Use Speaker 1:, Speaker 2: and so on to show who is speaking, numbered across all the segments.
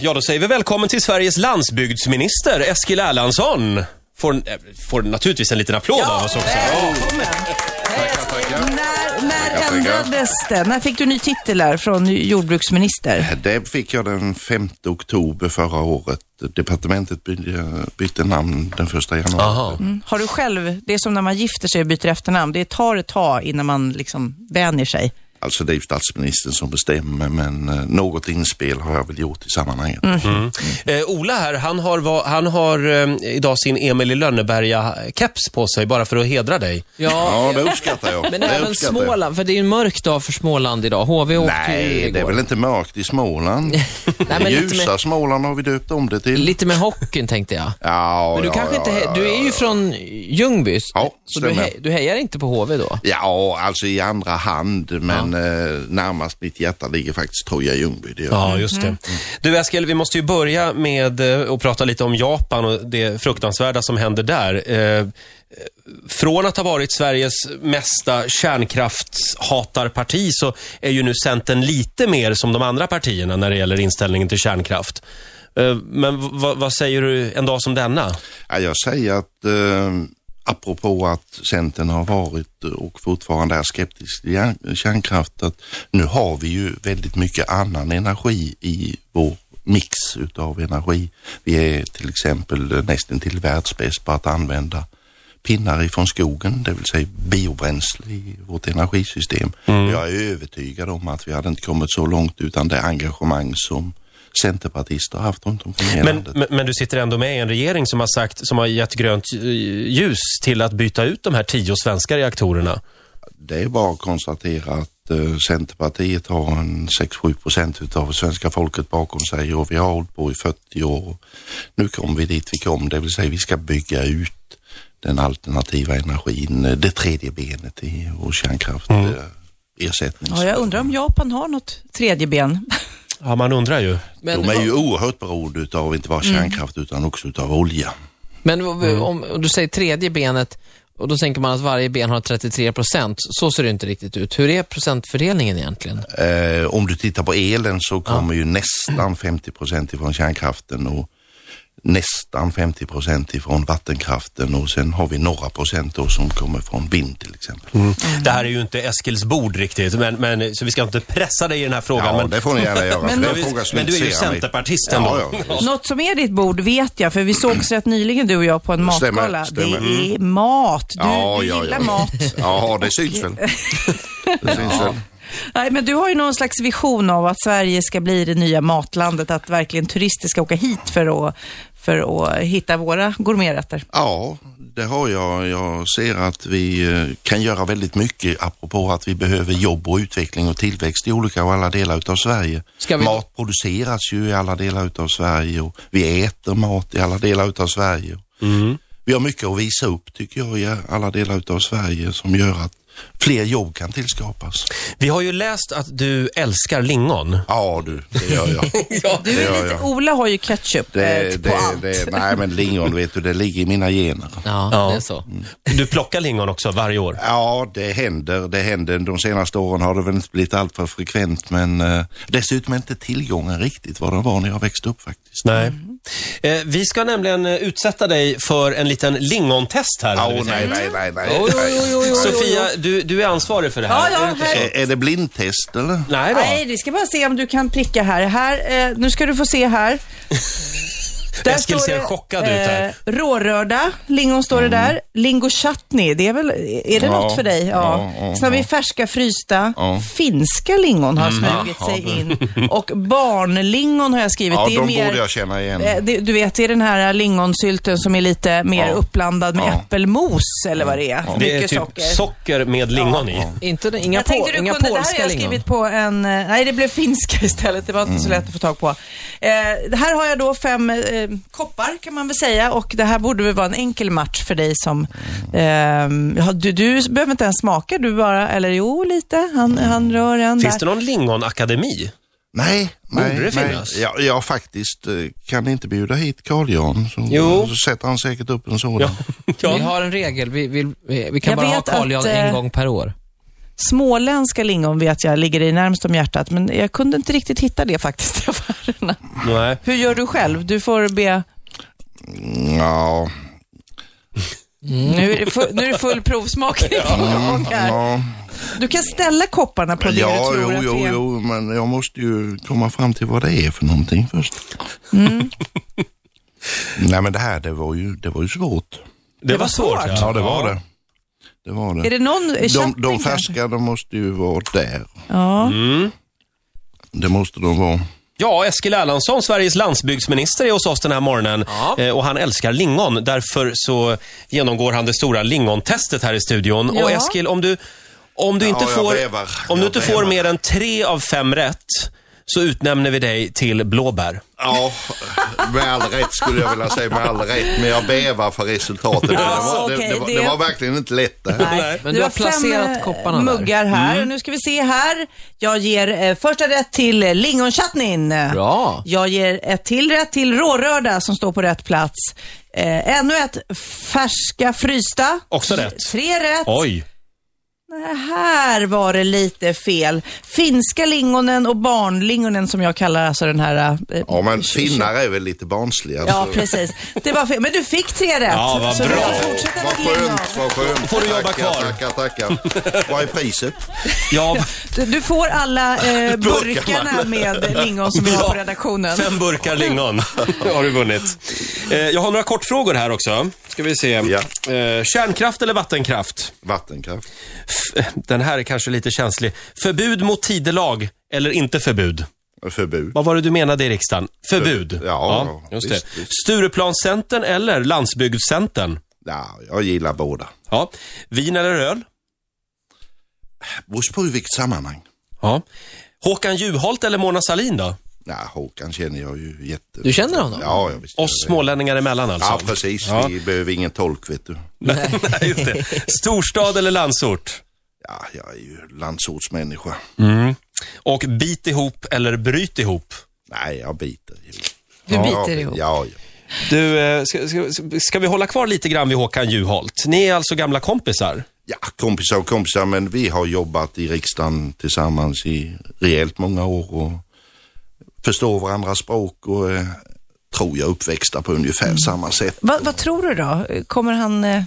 Speaker 1: Ja, då säger vi välkommen till Sveriges landsbygdsminister Eskil Erlandsson. Får, eh, får naturligtvis en liten applåd av oss också.
Speaker 2: Välkommen!
Speaker 3: När, när ändrades det? När fick du ny titel här från jordbruksminister?
Speaker 2: Det fick jag den 5 oktober förra året. Departementet by- eh, bytte namn den 1 januari.
Speaker 1: Aha.
Speaker 3: Har du själv, det är som när man gifter sig och byter efternamn, det tar ett tag innan man liksom vänjer sig.
Speaker 2: Alltså det är ju statsministern som bestämmer men eh, något inspel har jag väl gjort i sammanhanget.
Speaker 4: Mhm.
Speaker 1: Eh, Ola här, han har, va, han har eh, idag sin Emil i Lönneberga-keps på sig bara för att hedra dig.
Speaker 4: Ja,
Speaker 2: Ja, det uppskattar jag.
Speaker 4: men
Speaker 2: det
Speaker 4: även
Speaker 2: uppskattar jag.
Speaker 4: Småland, för det är ju en mörk dag för Småland idag. HV åkte ju
Speaker 2: Nej,
Speaker 4: igår.
Speaker 2: det är väl inte mörkt i Småland.
Speaker 4: men lite
Speaker 2: Ljusa Småland har vi döpt om det till.
Speaker 4: Lite med hockeyn tänkte jag.
Speaker 2: Ja,
Speaker 4: Men du
Speaker 2: ja,
Speaker 4: kanske
Speaker 2: ja,
Speaker 4: inte,
Speaker 2: ja,
Speaker 4: he- du
Speaker 2: ja,
Speaker 4: är ju från Ljungby,
Speaker 2: Ja,
Speaker 4: så du,
Speaker 2: stämmer.
Speaker 4: he- du hejar inte på HV då?
Speaker 2: Ja, alltså i andra hand, men eh, närmast mitt hjärta ligger faktiskt Troja Ljungby. Det gör
Speaker 1: Ja, just det. Du Eskil, vi måste ju börja med eh, att prata lite om Japan och det fruktansvärda som händer där. Eh, Från att ha varit Sveriges mesta kärnkraftshatarparti så är ju nu Centern lite mer som de andra partierna när det gäller inställningen till kärnkraft. Eh, Men v- vad- vad säger du en dag som denna?
Speaker 2: Ja, jag säger att eh, apropå att Centern har varit eh, och fortfarande är skeptisk till järn- kärnkraft, att nu har vi ju väldigt mycket annan energi i vår mix utav energi. Vi är till exempel nästan till världsbäst på att använda pinnar ifrån skogen, det vill säga biobränsle i vårt energisystem. Jag är övertygad om att vi hade inte kommit så långt utan det engagemang som Centerpartister har haft runt omkring i hela
Speaker 1: Men,
Speaker 2: landet.
Speaker 1: men, men du sitter ändå med i en regering som har, sagt, som har gett grönt eh, ljus till att byta ut de här tio svenska reaktorerna.
Speaker 2: Det är bara att konstatera att eh, Centerpartiet har en 6-7 procent utav svenska folket bakom sig och vi har hållit på i 40 år. Nu kom vi dit vi kom, det vill säga vi ska bygga ut den alternativa energin, eh, det tredje benet i vår kärnkraft. Mm. Ersättning.
Speaker 3: Ja, jag undrar om Japan har något tredje ben.
Speaker 1: Ja, man undrar ju.
Speaker 4: Men,
Speaker 2: De är ju oerhört beroende utav inte
Speaker 3: Mm.
Speaker 2: bara kärnkraft utan också utav olja.
Speaker 4: men
Speaker 2: Mm.
Speaker 4: om, om du säger tredje benet, och då tänker man att varje ben har 33 procent. Så ser det inte riktigt ut. Hur är procentfördelningen egentligen?
Speaker 2: Eh, om du tittar på elen så kommer ju nästan 50 procent ifrån kärnkraften och nästan 50 procent ifrån vattenkraften och sen har vi några procent då som kommer från vind till exempel.
Speaker 1: Mm. Det här är ju inte Eskils bord riktigt, men, men, så vi ska inte pressa dig i den här frågan.
Speaker 2: Ja,
Speaker 1: men,
Speaker 2: det får ni gärna göra.
Speaker 3: Men-
Speaker 2: för det är
Speaker 1: men,
Speaker 2: en fråga som
Speaker 1: men du är ju
Speaker 2: intresserar mig.
Speaker 1: centerpartist ändå.
Speaker 2: Ja, ja.
Speaker 3: Något som är ditt bord vet jag, för vi sågs rätt nyligen du och jag på en
Speaker 2: Stämmer,
Speaker 3: matgala.
Speaker 2: stämmer.
Speaker 3: Det är mat. Du,
Speaker 2: Ja,
Speaker 3: du
Speaker 2: ja,
Speaker 3: gillar
Speaker 2: ja.
Speaker 3: mat.
Speaker 2: Ja, det syns väl. Det syns väl.
Speaker 3: Nej, men du har ju någon slags vision av att Sverige ska bli det nya matlandet, att verkligen turister ska åka hit för att, för att hitta våra gourmeträtter.
Speaker 2: Ja, det har jag. Jag ser att vi eh, kan göra väldigt mycket apropå att vi behöver jobb och utveckling och tillväxt i olika och alla delar utav Sverige.
Speaker 4: Ska vi-
Speaker 2: Mat produceras ju i alla delar utav Sverige och vi äter mat i alla delar utav Sverige. Vi har mycket att visa upp tycker jag i alla delar utav Sverige som gör att fler jobb kan tillskapas.
Speaker 1: Vi har ju läst att du älskar lingon.
Speaker 2: Ja du, det gör jag.
Speaker 3: Du är
Speaker 2: gör
Speaker 3: lite,
Speaker 2: jag.
Speaker 3: Ola har ju ketchup eh,
Speaker 2: Det,
Speaker 3: på
Speaker 2: det,
Speaker 3: allt.
Speaker 2: det, nej men lingon vet du, det ligger i mina gener.
Speaker 4: Ja,
Speaker 1: Ja.
Speaker 4: det är så.
Speaker 2: Mm.
Speaker 1: Du plockar lingon också varje år.
Speaker 2: Ja, det händer. Det händer. De senaste åren har det väl inte blivit alltför frekvent, men eh, dessutom är inte tillgången riktigt vad den var när jag växte upp faktiskt.
Speaker 1: Nej. Eh, vi ska nämligen eh, utsätta dig för en liten lingontest här. hade vi
Speaker 2: Åh,
Speaker 1: tänkt.
Speaker 2: oh, nej, nej, nej, nej.
Speaker 4: Oj, oj, oj, oj, oj.
Speaker 1: Sofia, du, du är ansvarig för det
Speaker 3: Ja,
Speaker 1: här.
Speaker 3: ja,
Speaker 1: Är det inte så?
Speaker 3: här.
Speaker 2: Är, är det blindtest eller?
Speaker 1: Nej då.
Speaker 3: Nej, vi ska bara se om du kan pricka här. här eh, nu ska du få se här.
Speaker 1: Eskil ser chockad ut
Speaker 3: eh,
Speaker 1: här.
Speaker 3: Rårörda, lingon står det där. Lingo chutney, det är väl, är det
Speaker 2: Mm. Ja,
Speaker 3: något för dig? Ja.
Speaker 2: ja, Mm. ja,
Speaker 3: Sen har vi färska frysta. Finska lingon har smugit sig in. Och barnlingon har jag skrivit.
Speaker 2: Ja,
Speaker 3: det är
Speaker 2: de
Speaker 3: mer,
Speaker 2: borde jag känna igen.
Speaker 3: eh, det, du vet, det är den här lingonsylten som är lite mer
Speaker 2: Ja.
Speaker 3: uppblandad med
Speaker 2: Ja.
Speaker 3: äppelmos eller vad det är.
Speaker 1: Det är
Speaker 3: Mycket
Speaker 1: typ socker,
Speaker 3: socker.
Speaker 1: med lingon i.
Speaker 4: Inte, inga
Speaker 3: jag tänkte
Speaker 4: på,
Speaker 3: du
Speaker 4: inga
Speaker 3: kunde, det här har
Speaker 4: polska
Speaker 3: jag
Speaker 4: lingon.
Speaker 3: skrivit på en, eh, nej det blev finska istället, det var inte så lätt att få tag på. Eh, det här har jag då fem eh, koppar kan man väl säga och det här borde väl vara en enkel match för dig som, eh, ja, du, du behöver inte ens smaka, du bara, eller jo lite, han, han rör en
Speaker 1: Finns
Speaker 3: där.
Speaker 1: det någon lingonakademi?
Speaker 2: Nej, nej.
Speaker 1: Borde det
Speaker 2: nej.
Speaker 1: finnas?
Speaker 2: Ja, jag faktiskt eh, kan inte bjuda hit Carl Jan, så,
Speaker 1: Jo.
Speaker 2: så sätter han säkert upp en sådan.
Speaker 4: Vi har en regel, vi, vi, vi, vi kan
Speaker 3: Jag
Speaker 4: bara ha
Speaker 3: vet
Speaker 4: Carl
Speaker 3: att,
Speaker 4: Jan en
Speaker 3: eh,
Speaker 4: gång per år.
Speaker 3: Småländska lingon vet jag ligger dig närmst om hjärtat, men jag kunde inte riktigt hitta det faktiskt. papperna.
Speaker 1: Nej.
Speaker 3: Hur gör du själv? Du får be...
Speaker 2: Ja,
Speaker 3: Nu är det full, nu är det full provsmakning igång här.
Speaker 2: ja,
Speaker 3: Du kan ställa kopparna på det
Speaker 2: ja
Speaker 3: du tror
Speaker 2: jo,
Speaker 3: att det
Speaker 2: jo,
Speaker 3: är.
Speaker 2: jo, men jag måste ju komma fram till vad det är för någonting först.
Speaker 3: Mm.
Speaker 2: Nej, men det här, det var ju, det var ju svårt.
Speaker 1: Det, var
Speaker 3: var
Speaker 1: svårt.
Speaker 3: svårt.
Speaker 2: Ja, det var det. Det var det.
Speaker 3: Är det någon eh, är
Speaker 2: de,
Speaker 3: Chapman
Speaker 2: de
Speaker 3: kanske?
Speaker 2: färska, de måste ju vara där.
Speaker 3: Ja.
Speaker 1: Mm.
Speaker 2: Det måste de vara.
Speaker 1: Ja, Eskil Erlandsson, Sveriges landsbygdsminister, är hos oss den här morgonen.
Speaker 4: Ja.
Speaker 1: Eh, och han älskar lingon. Därför så genomgår han det stora lingontestet här i studion.
Speaker 3: Ja.
Speaker 1: Och Eskil, om du, om du inte
Speaker 2: jag
Speaker 1: får,
Speaker 2: bävar.
Speaker 1: om du
Speaker 2: Jag
Speaker 1: inte
Speaker 2: bävar.
Speaker 1: får mer än tre av fem rätt så utnämner vi dig till blåbär.
Speaker 2: Ja, med all rätt skulle jag vilja säga, med all rätt. Men jag bävar för resultatet.
Speaker 3: Ja,
Speaker 2: det, var, det,
Speaker 3: okej,
Speaker 2: det, var,
Speaker 3: det-
Speaker 2: det var verkligen inte lätt det här.
Speaker 3: Nej.
Speaker 4: Men du har placerat
Speaker 3: eh,
Speaker 4: kopparna där.
Speaker 3: muggar här.
Speaker 1: Mm.
Speaker 3: Och nu ska vi se här. Jag ger eh, första rätt till eh, lingonchutneyn.
Speaker 4: Bra.
Speaker 3: Jag ger ett till rätt till rårörda som står på rätt plats. Eh, ännu ett färska frysta.
Speaker 1: Också rätt.
Speaker 3: Tre rätt.
Speaker 1: Oj!
Speaker 3: Nej, Här var det lite fel. Finska lingonen och barnlingonen som jag kallar alltså den här... eh,
Speaker 2: Ja, men finnar är väl lite barnsliga.
Speaker 3: Ja,
Speaker 2: så-
Speaker 3: precis. Det var fel. Men du fick tre rätt.
Speaker 1: Ja, vad
Speaker 3: så du
Speaker 1: bra.
Speaker 3: får fortsätta
Speaker 2: Vad
Speaker 3: med lingon.
Speaker 2: skönt, vad skönt.
Speaker 1: Får du jobba
Speaker 2: tackar,
Speaker 1: kvar?
Speaker 2: Tackar, tackar. Vad är priset?
Speaker 1: Ja,
Speaker 3: Du, du får alla eh, burkarna
Speaker 1: Burkarna.
Speaker 3: med lingon som vi har på
Speaker 1: Ja.
Speaker 3: redaktionen.
Speaker 1: fem burkar lingon har du vunnit. Eh, jag har några kortfrågor här också. Ska vi se.
Speaker 2: Ja.
Speaker 1: Eh, kärnkraft eller vattenkraft?
Speaker 2: Vattenkraft.
Speaker 1: F- den här är kanske lite känslig. Förbud mot tidelag eller inte förbud?
Speaker 2: Förbud.
Speaker 1: Vad var det du menade i riksdagen? Förbud.
Speaker 2: Förbud. Ja,
Speaker 1: just
Speaker 2: visst,
Speaker 1: det.
Speaker 2: visst.
Speaker 1: Stureplanscentern eller Landsbygdscentern?
Speaker 2: Ja, jag gillar båda.
Speaker 1: Ja. Vin eller öl?
Speaker 2: Beror på i vilket sammanhang.
Speaker 1: Ja. Håkan Juholt eller Mona Salin då?
Speaker 2: Ja, Håkan känner jag ju jätte...
Speaker 4: Du känner honom?
Speaker 2: Ja, jag visst.
Speaker 1: Oss smålänningar emellan alltså?
Speaker 2: Ja, precis.
Speaker 1: Ja.
Speaker 2: Vi behöver ingen tolk, vet du.
Speaker 1: Nej, just det. Storstad eller landsort?
Speaker 2: Ja, jag är ju landsortsmänniska.
Speaker 1: Och bit ihop eller bryt ihop?
Speaker 2: Nej, jag biter ihop.
Speaker 3: Du
Speaker 2: Ja,
Speaker 3: biter ihop.
Speaker 2: Ja, ja.
Speaker 1: Du, eh, ska, ska, ska vi hålla kvar lite grann vid Håkan Juholt? Ni är alltså gamla kompisar?
Speaker 2: ja, kompisar och kompisar, men vi har jobbat i riksdagen tillsammans i rejält många år och förstår varandras språk och eh, tror jag uppväxta på ungefär samma sätt.
Speaker 3: Mm. Va, vad tror du då? Kommer han eh,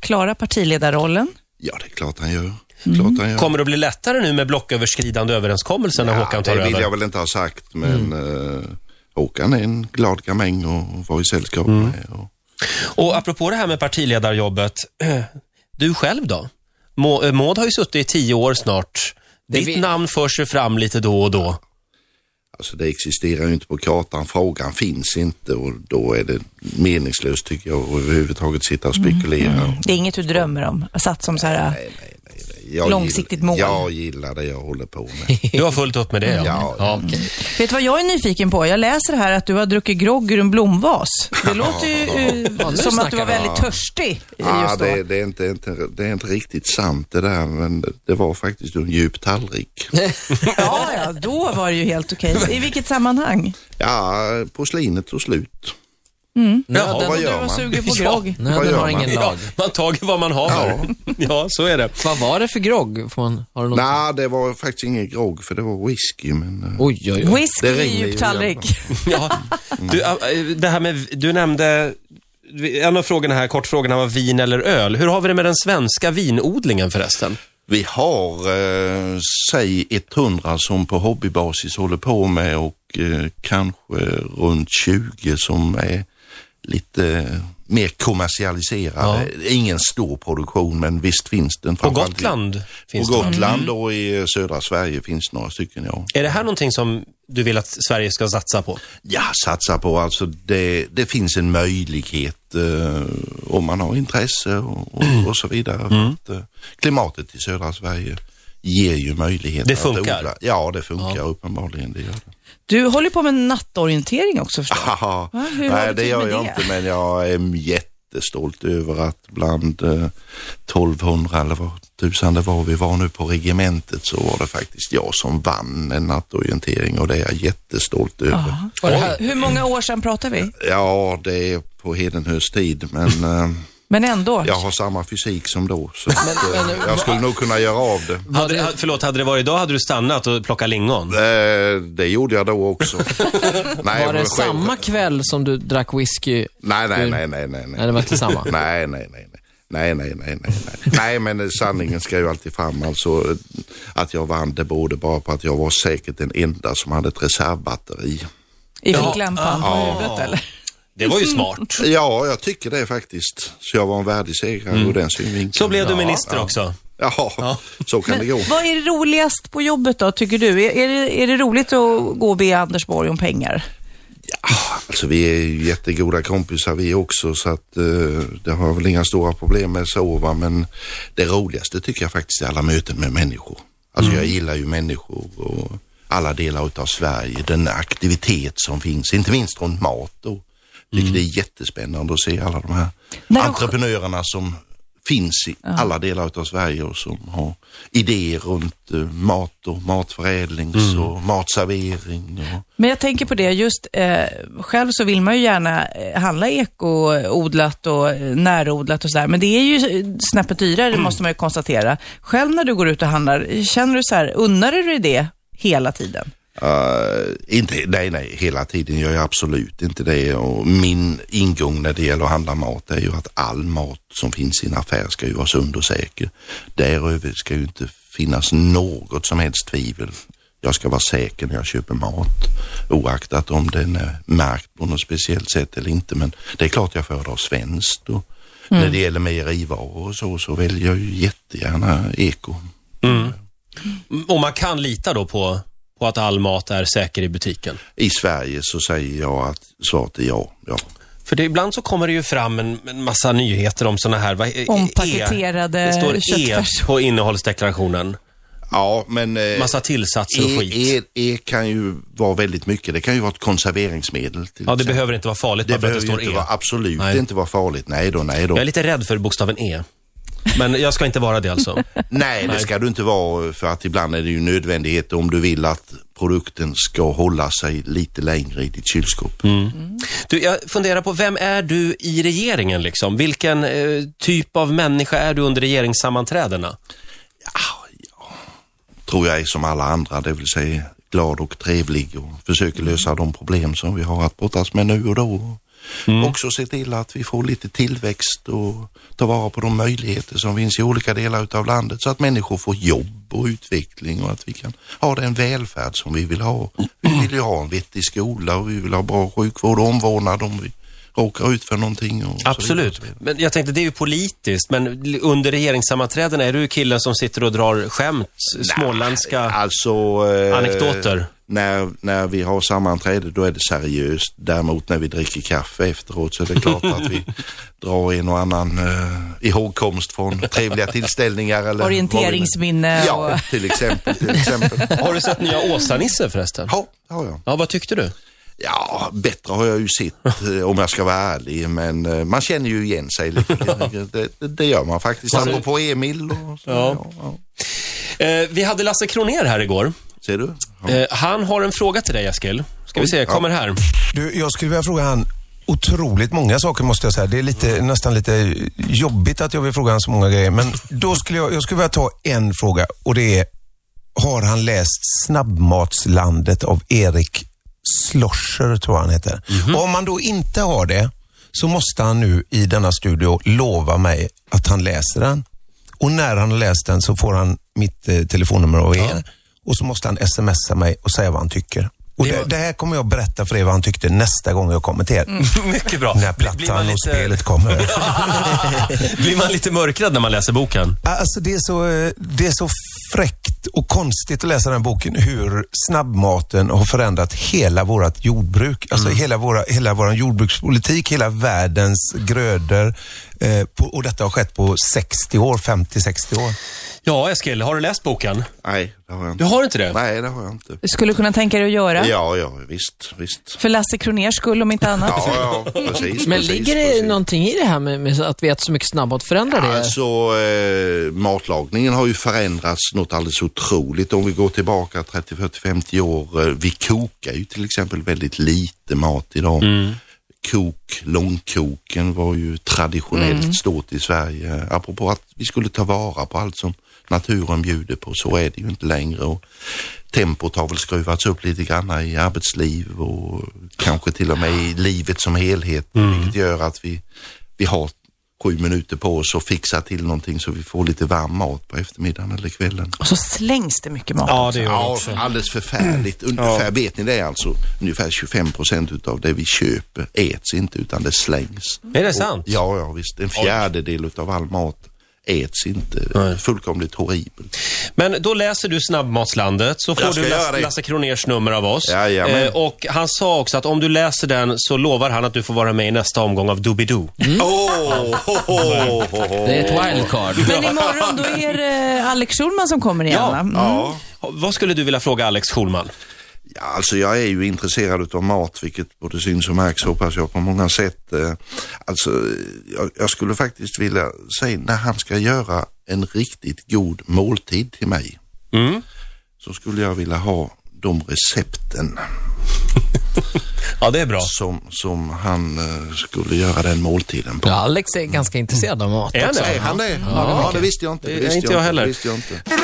Speaker 3: klara partiledarrollen?
Speaker 2: Ja, det är klart han gör.
Speaker 3: Mm.
Speaker 2: Klart han gör.
Speaker 1: Kommer det att bli lättare nu med blocköverskridande överenskommelser när Håkan tar
Speaker 2: det vill
Speaker 1: över? Mm.
Speaker 2: jag väl inte ha sagt, men eh, Håkan är en glad gamäng och var i sällskap
Speaker 1: Mm.
Speaker 2: med. Och,
Speaker 1: Och apropå det här med partiledarjobbet, du själv då? Må- eh, Maud har ju suttit i tio år snart. Ditt
Speaker 4: vi-
Speaker 1: namn för sig fram lite då och då.
Speaker 2: alltså det existerar ju inte på kartan, frågan finns inte och då är det meningslöst tycker jag att överhuvudtaget sitta och
Speaker 3: Mm,
Speaker 2: spekulera.
Speaker 3: Det är inget du drömmer om? Satt som så här...
Speaker 2: Nej, nej, nej, nej. Jag
Speaker 3: Långsiktigt mål.
Speaker 2: Jag gillar det jag håller på med.
Speaker 1: Du har fullt upp med det, ja.
Speaker 2: Ja,
Speaker 4: Mm.
Speaker 1: okej.
Speaker 3: Vet du vad jag är nyfiken på? Jag läser här att du har druckit grogg ur en blomvas. Det låter ju eh,
Speaker 4: nu
Speaker 3: som att
Speaker 4: snackar
Speaker 3: du var
Speaker 4: vi.
Speaker 3: väldigt törstig eh,
Speaker 2: Ja,
Speaker 3: just då.
Speaker 2: det, det, är inte, inte, det är inte riktigt sant det där, men det- det var faktiskt en djup tallrik.
Speaker 3: Ja, ja, då var det ju helt okej. I vilket sammanhang?
Speaker 2: Ja, porslinet tog slut.
Speaker 1: Jaha,
Speaker 4: Nöden,
Speaker 2: vad
Speaker 3: Och du
Speaker 2: gör
Speaker 3: var
Speaker 2: man?
Speaker 3: sugen på
Speaker 1: Ja.
Speaker 3: grogg.
Speaker 2: vad
Speaker 4: nöden
Speaker 2: gör
Speaker 4: har
Speaker 2: man?
Speaker 4: ingen
Speaker 1: Ja,
Speaker 4: lag.
Speaker 1: man tager vad man har. Ja.
Speaker 2: Ja.
Speaker 1: så är det.
Speaker 4: Vad var det för grogg? Får man, har du något?
Speaker 2: Nej, det var faktiskt ingen grogg för det var whisky, men eh,
Speaker 4: Oj, oj, oj.
Speaker 3: Whisky
Speaker 2: Det ringer
Speaker 3: i
Speaker 2: ju
Speaker 3: djup tallrik.
Speaker 1: Ja. Du,
Speaker 2: Mm.
Speaker 1: äh, det här med, du nämnde, en av frågorna här, kortfrågorna var vin eller öl. Hur har vi det med den svenska vinodlingen förresten?
Speaker 2: vi har eh, säg 100 som på hobbybasis håller på med och eh, kanske runt 20 som är lite mer kommersialiserade. Ingen stor produktion, men visst finns den.
Speaker 1: På
Speaker 2: framförallt i-
Speaker 1: Gotland finns
Speaker 2: på
Speaker 1: det.
Speaker 2: Gotland och i södra Sverige finns några stycken, ja.
Speaker 1: Är det här någonting som du vill att Sverige ska satsa på?
Speaker 2: Ja, satsa på alltså, det, det finns en möjlighet eh, om man har intresse och, och,
Speaker 1: Mm.
Speaker 2: och så vidare. För Att, eh, klimatet i södra Sverige ger ju möjlighet
Speaker 1: Det
Speaker 2: att
Speaker 1: funkar?
Speaker 2: odla. Ja, det funkar uppenbarligen. Det gör det.
Speaker 3: Du håller på med nattorientering också förstår jag.
Speaker 2: Haha,
Speaker 3: hur har
Speaker 2: Nej,
Speaker 3: du
Speaker 2: det
Speaker 3: tid
Speaker 2: gör
Speaker 3: med
Speaker 2: jag
Speaker 3: det?
Speaker 2: inte, men jag är jättestolt över att bland eh, 1200 eller vad tusan det var vi var nu på regementet så var det faktiskt jag som vann en nattorientering och det är jag jättestolt över.
Speaker 4: Var det här,
Speaker 3: Hur många år sedan pratar vi?
Speaker 2: Ja, det är på Hedenhös tid, men eh,
Speaker 3: Men ändå.
Speaker 2: Jag har samma fysik som då, så att, eh, jag skulle nog kunna göra av det.
Speaker 1: Hade, ha- förlåt, hade det varit idag hade du stannat och plockat lingon?
Speaker 2: Eh, Det gjorde jag då också. nej,
Speaker 4: Var
Speaker 2: men
Speaker 4: det
Speaker 2: själv-
Speaker 4: samma kväll som du drack whisky?
Speaker 2: Nej, nej, nej, nej, nej.
Speaker 4: Nej, det var inte samma.
Speaker 2: Nej, nej, nej. nej. Nej, nej, nej, nej, nej. Nej, men eh, sanningen ska ju alltid fram. Alltså, eh, att jag vann, det berodde bara på att jag var säkert den enda som hade ett reservbatteri.
Speaker 3: I ficklampan på
Speaker 2: Ja.
Speaker 3: huvudet eller?
Speaker 1: Det var ju smart.
Speaker 2: Ja, jag tycker det faktiskt. Så jag var en värdig segrare
Speaker 4: Mm.
Speaker 2: ur den synvinkeln.
Speaker 1: Så blev du
Speaker 2: Ja,
Speaker 1: minister
Speaker 2: ja.
Speaker 1: också.
Speaker 2: Ja, så kan det gå.
Speaker 3: Vad är det roligast på jobbet då, tycker du? Är, är, det, är det roligt att gå och be Anders Borg om pengar?
Speaker 2: Alltså vi är ju jättegoda kompisar vi också så att eh, det har jag väl inga stora problem med så va men det roligaste tycker jag faktiskt är alla möten med människor. Alltså
Speaker 3: Mm.
Speaker 2: jag gillar ju människor och alla delar utav Sverige, den aktivitet som finns, inte minst runt mat då. Jag tycker det är jättespännande att se alla de här
Speaker 3: Mm. När de-
Speaker 2: entreprenörerna som finns i alla delar utav Sverige och som har idéer runt eh, mat och matförädlings
Speaker 3: Mm.
Speaker 2: och matservering. Och,
Speaker 3: Men jag tänker på det, just eh, själv så vill man ju gärna eh, handla ekoodlat och eh, närodlat och sådär, men det är ju eh, snäppet dyrare måste man ju konstatera. Själv när du går ut och handlar, känner du så här, unnar du dig det hela tiden?
Speaker 2: Eh, inte, nej, nej, hela tiden gör jag absolut inte det. Och min ingång när det gäller att handla mat är ju att all mat som finns i en affär ska ju vara sund och säker. Däröver ska ju inte finnas något som helst tvivel. Jag ska vara säker när jag köper mat oaktat om den är märkt på något speciellt sätt eller inte. Men det är klart jag föredrar svenskt. Och När det gäller mejerivaror och så, så väljer jag ju jättegärna eko.
Speaker 1: Och man kan lita då på, på att all mat är säker i butiken.
Speaker 2: I Sverige så säger jag att svaret är ja. ja.
Speaker 1: För det, ibland så kommer det ju fram en, en massa nyheter om såna här... Vad, e-
Speaker 3: Ompaketerade
Speaker 1: e, Det står E
Speaker 3: köttfärs.
Speaker 1: på innehållsdeklarationen.
Speaker 2: Ja, men... eh,
Speaker 1: Massa tillsatser och skit.
Speaker 2: E, e, e kan ju vara väldigt mycket. Det kan ju vara ett konserveringsmedel. Till
Speaker 1: ja, det
Speaker 2: exempel.
Speaker 1: behöver inte vara farligt
Speaker 2: det
Speaker 1: bara för att det står
Speaker 2: behöver ju inte
Speaker 1: E.
Speaker 2: vara, absolut
Speaker 1: Nej.
Speaker 2: inte vara farligt. Nej då, nej då.
Speaker 1: Jag är lite rädd för bokstaven E. Men jag ska inte vara det alltså.
Speaker 2: Nej, det ska du inte vara för att ibland är det ju nödvändighet om du vill att produkten ska hålla sig lite längre i ditt kylskåp.
Speaker 1: Du, jag funderar på, vem är du i regeringen liksom? Vilken eh, typ av människa är du under regeringssammanträdena?
Speaker 2: Tror jag är som alla andra, det vill säga glad och trevlig och försöker lösa de problem som vi har att brottas med nu och då. Också se till att vi får lite tillväxt och ta vara på de möjligheter som finns i olika delar utav landet så att människor får jobb och utveckling och att vi kan ha den välfärd som vi vill ha. Vi vill ju ha en vettig skola och vi vill ha bra sjukvård och omvårdnad om vi råkar ut för någonting. Och så vidare.
Speaker 1: Absolut. Men jag tänkte, det är ju politiskt, men l- under regeringssammanträdena, är du killen som sitter och drar skämt, småländska...
Speaker 2: Alltså... eh,
Speaker 1: Anekdoter.
Speaker 2: När, när vi har sammanträde då är det seriöst. Däremot när vi dricker kaffe efteråt så är det klart att vi drar en och annan eh, ihågkomst från trevliga tillställningar. Eller vad vi nu-
Speaker 3: Orienteringsminne
Speaker 2: Ja,
Speaker 3: och-
Speaker 2: till exempel. Till exempel.
Speaker 1: Har du sett nya Åsa-Nisse förresten?
Speaker 2: Ja, det har jag.
Speaker 1: Ja, vad tyckte du?
Speaker 2: Ja, bättre har jag ju sett eh, om jag ska vara ärlig. Men eh, man känner ju igen sig lite. Det, det, det gör man faktiskt. Apropå Emil och så. Ja. Ja,
Speaker 1: Eh, vi hade Lasse Kroner här igår.
Speaker 2: Ser du? Ja.
Speaker 1: Eh, han har en fråga till dig, Eskil. Ska vi
Speaker 2: Oj,
Speaker 1: se,
Speaker 2: ja.
Speaker 1: kommer här.
Speaker 5: Du, jag skulle vilja fråga han otroligt många saker måste jag säga. Det är lite, nästan lite jobbigt att jag vill fråga han så många grejer. Men då skulle jag, jag skulle vilja ta en fråga och det är, har han läst Snabbmatslandet av Erik Sloscher, tror jag han heter.
Speaker 1: Mhm.
Speaker 5: Och om han då inte har det, så måste han nu i denna studio lova mig att han läser den. Och när han har läst den så får han mitt eh, telefonnummer av er. Och så måste han smsa mig och säga vad han tycker. Och det, det här kommer jag berätta för er vad han tyckte nästa gång jag kommer till er.
Speaker 1: Mycket bra.
Speaker 5: När
Speaker 1: Mm. Blir- blir man
Speaker 5: plattan och
Speaker 1: lite-
Speaker 5: spelet kommer.
Speaker 1: Blir man lite mörkrädd när man läser boken?
Speaker 5: Alltså det är, så, eh, det är så fräckt och konstigt att läsa den här boken hur snabbmaten har förändrat hela vårt jordbruk. Alltså hela, våra, hela vår jordbrukspolitik, hela världens grödor. Eh, på, och detta har skett på 60 år, 50-60 år.
Speaker 1: Ja, Eskil, har du läst boken?
Speaker 2: Nej, det har jag inte.
Speaker 1: Du har inte det?
Speaker 2: Nej, det har jag inte.
Speaker 3: Du skulle kunna tänka dig att göra?
Speaker 2: Ja, ja, visst, visst.
Speaker 3: För Lasse Kroners skull om inte annat.
Speaker 2: Ja, ja, precis.
Speaker 4: Men
Speaker 2: precis,
Speaker 4: ligger det
Speaker 2: precis.
Speaker 4: någonting i det här med, med att vi äter så mycket snabbmat? Förändrar det?
Speaker 2: Alltså, eh, matlagningen har ju förändrats något alldeles otroligt. Om vi går tillbaka 30, 40, 50 år. Eh, vi kokar ju till exempel väldigt lite mat idag. kok, långkoken var ju traditionellt stort i Sverige. Apropå att vi skulle ta vara på allt som naturen bjuder på, så är det ju inte längre. Och tempot har väl skruvats upp lite grann i arbetsliv och kanske till och med i livet som helhet,
Speaker 1: Mm.
Speaker 2: vilket gör att vi, vi har sju minuter på oss att fixa till någonting så vi får lite varm mat på eftermiddagen eller kvällen.
Speaker 3: Och så slängs det mycket mat.
Speaker 1: Ja, det gör det
Speaker 2: Ja,
Speaker 1: också. Mm.
Speaker 2: alldeles förfärligt. Ungefär, vet ni det alltså? Ungefär 25 procent utav det vi köper äts inte utan det slängs.
Speaker 1: Är det sant?
Speaker 2: Ja, ja visst. En fjärdedel utav all mat äts inte. Fullkomligt horribelt.
Speaker 1: Men då läser du Snabbmatslandet, så får
Speaker 2: Jag ska
Speaker 1: du
Speaker 2: göra
Speaker 1: Lasse,
Speaker 2: det.
Speaker 1: Lasse Kroners nummer av oss. Eh,
Speaker 2: Jajamän.
Speaker 1: och han sa också att om du läser den så lovar han att du får vara med i nästa omgång av Doobidoo.
Speaker 2: Åh, ho, ho, ho, ho, ho.
Speaker 4: Det är ett wildcard.
Speaker 3: Men imorgon då är det eh, Alex Schulman som kommer igen
Speaker 1: Ja.
Speaker 3: va? Mm.
Speaker 2: Ja.
Speaker 1: Vad skulle du vilja fråga Alex Schulman?
Speaker 2: Ja, alltså jag är ju intresserad utav mat, vilket både syns och märks hoppas jag på många sätt. Eh, Alltså, eh, jag, jag skulle faktiskt vilja säga när han ska göra en riktigt god måltid till mig
Speaker 1: Mm.
Speaker 2: så skulle jag vilja ha de recepten
Speaker 1: Ja, det är bra.
Speaker 2: som, som han eh, skulle göra den måltiden på.
Speaker 4: Ja, Alex är ganska intresserad av mat
Speaker 1: Är han
Speaker 4: också.
Speaker 1: det?
Speaker 2: Är han det? Ja, det visste jag inte.
Speaker 1: Det är
Speaker 2: visste
Speaker 1: inte jag heller.
Speaker 2: Det visste jag inte.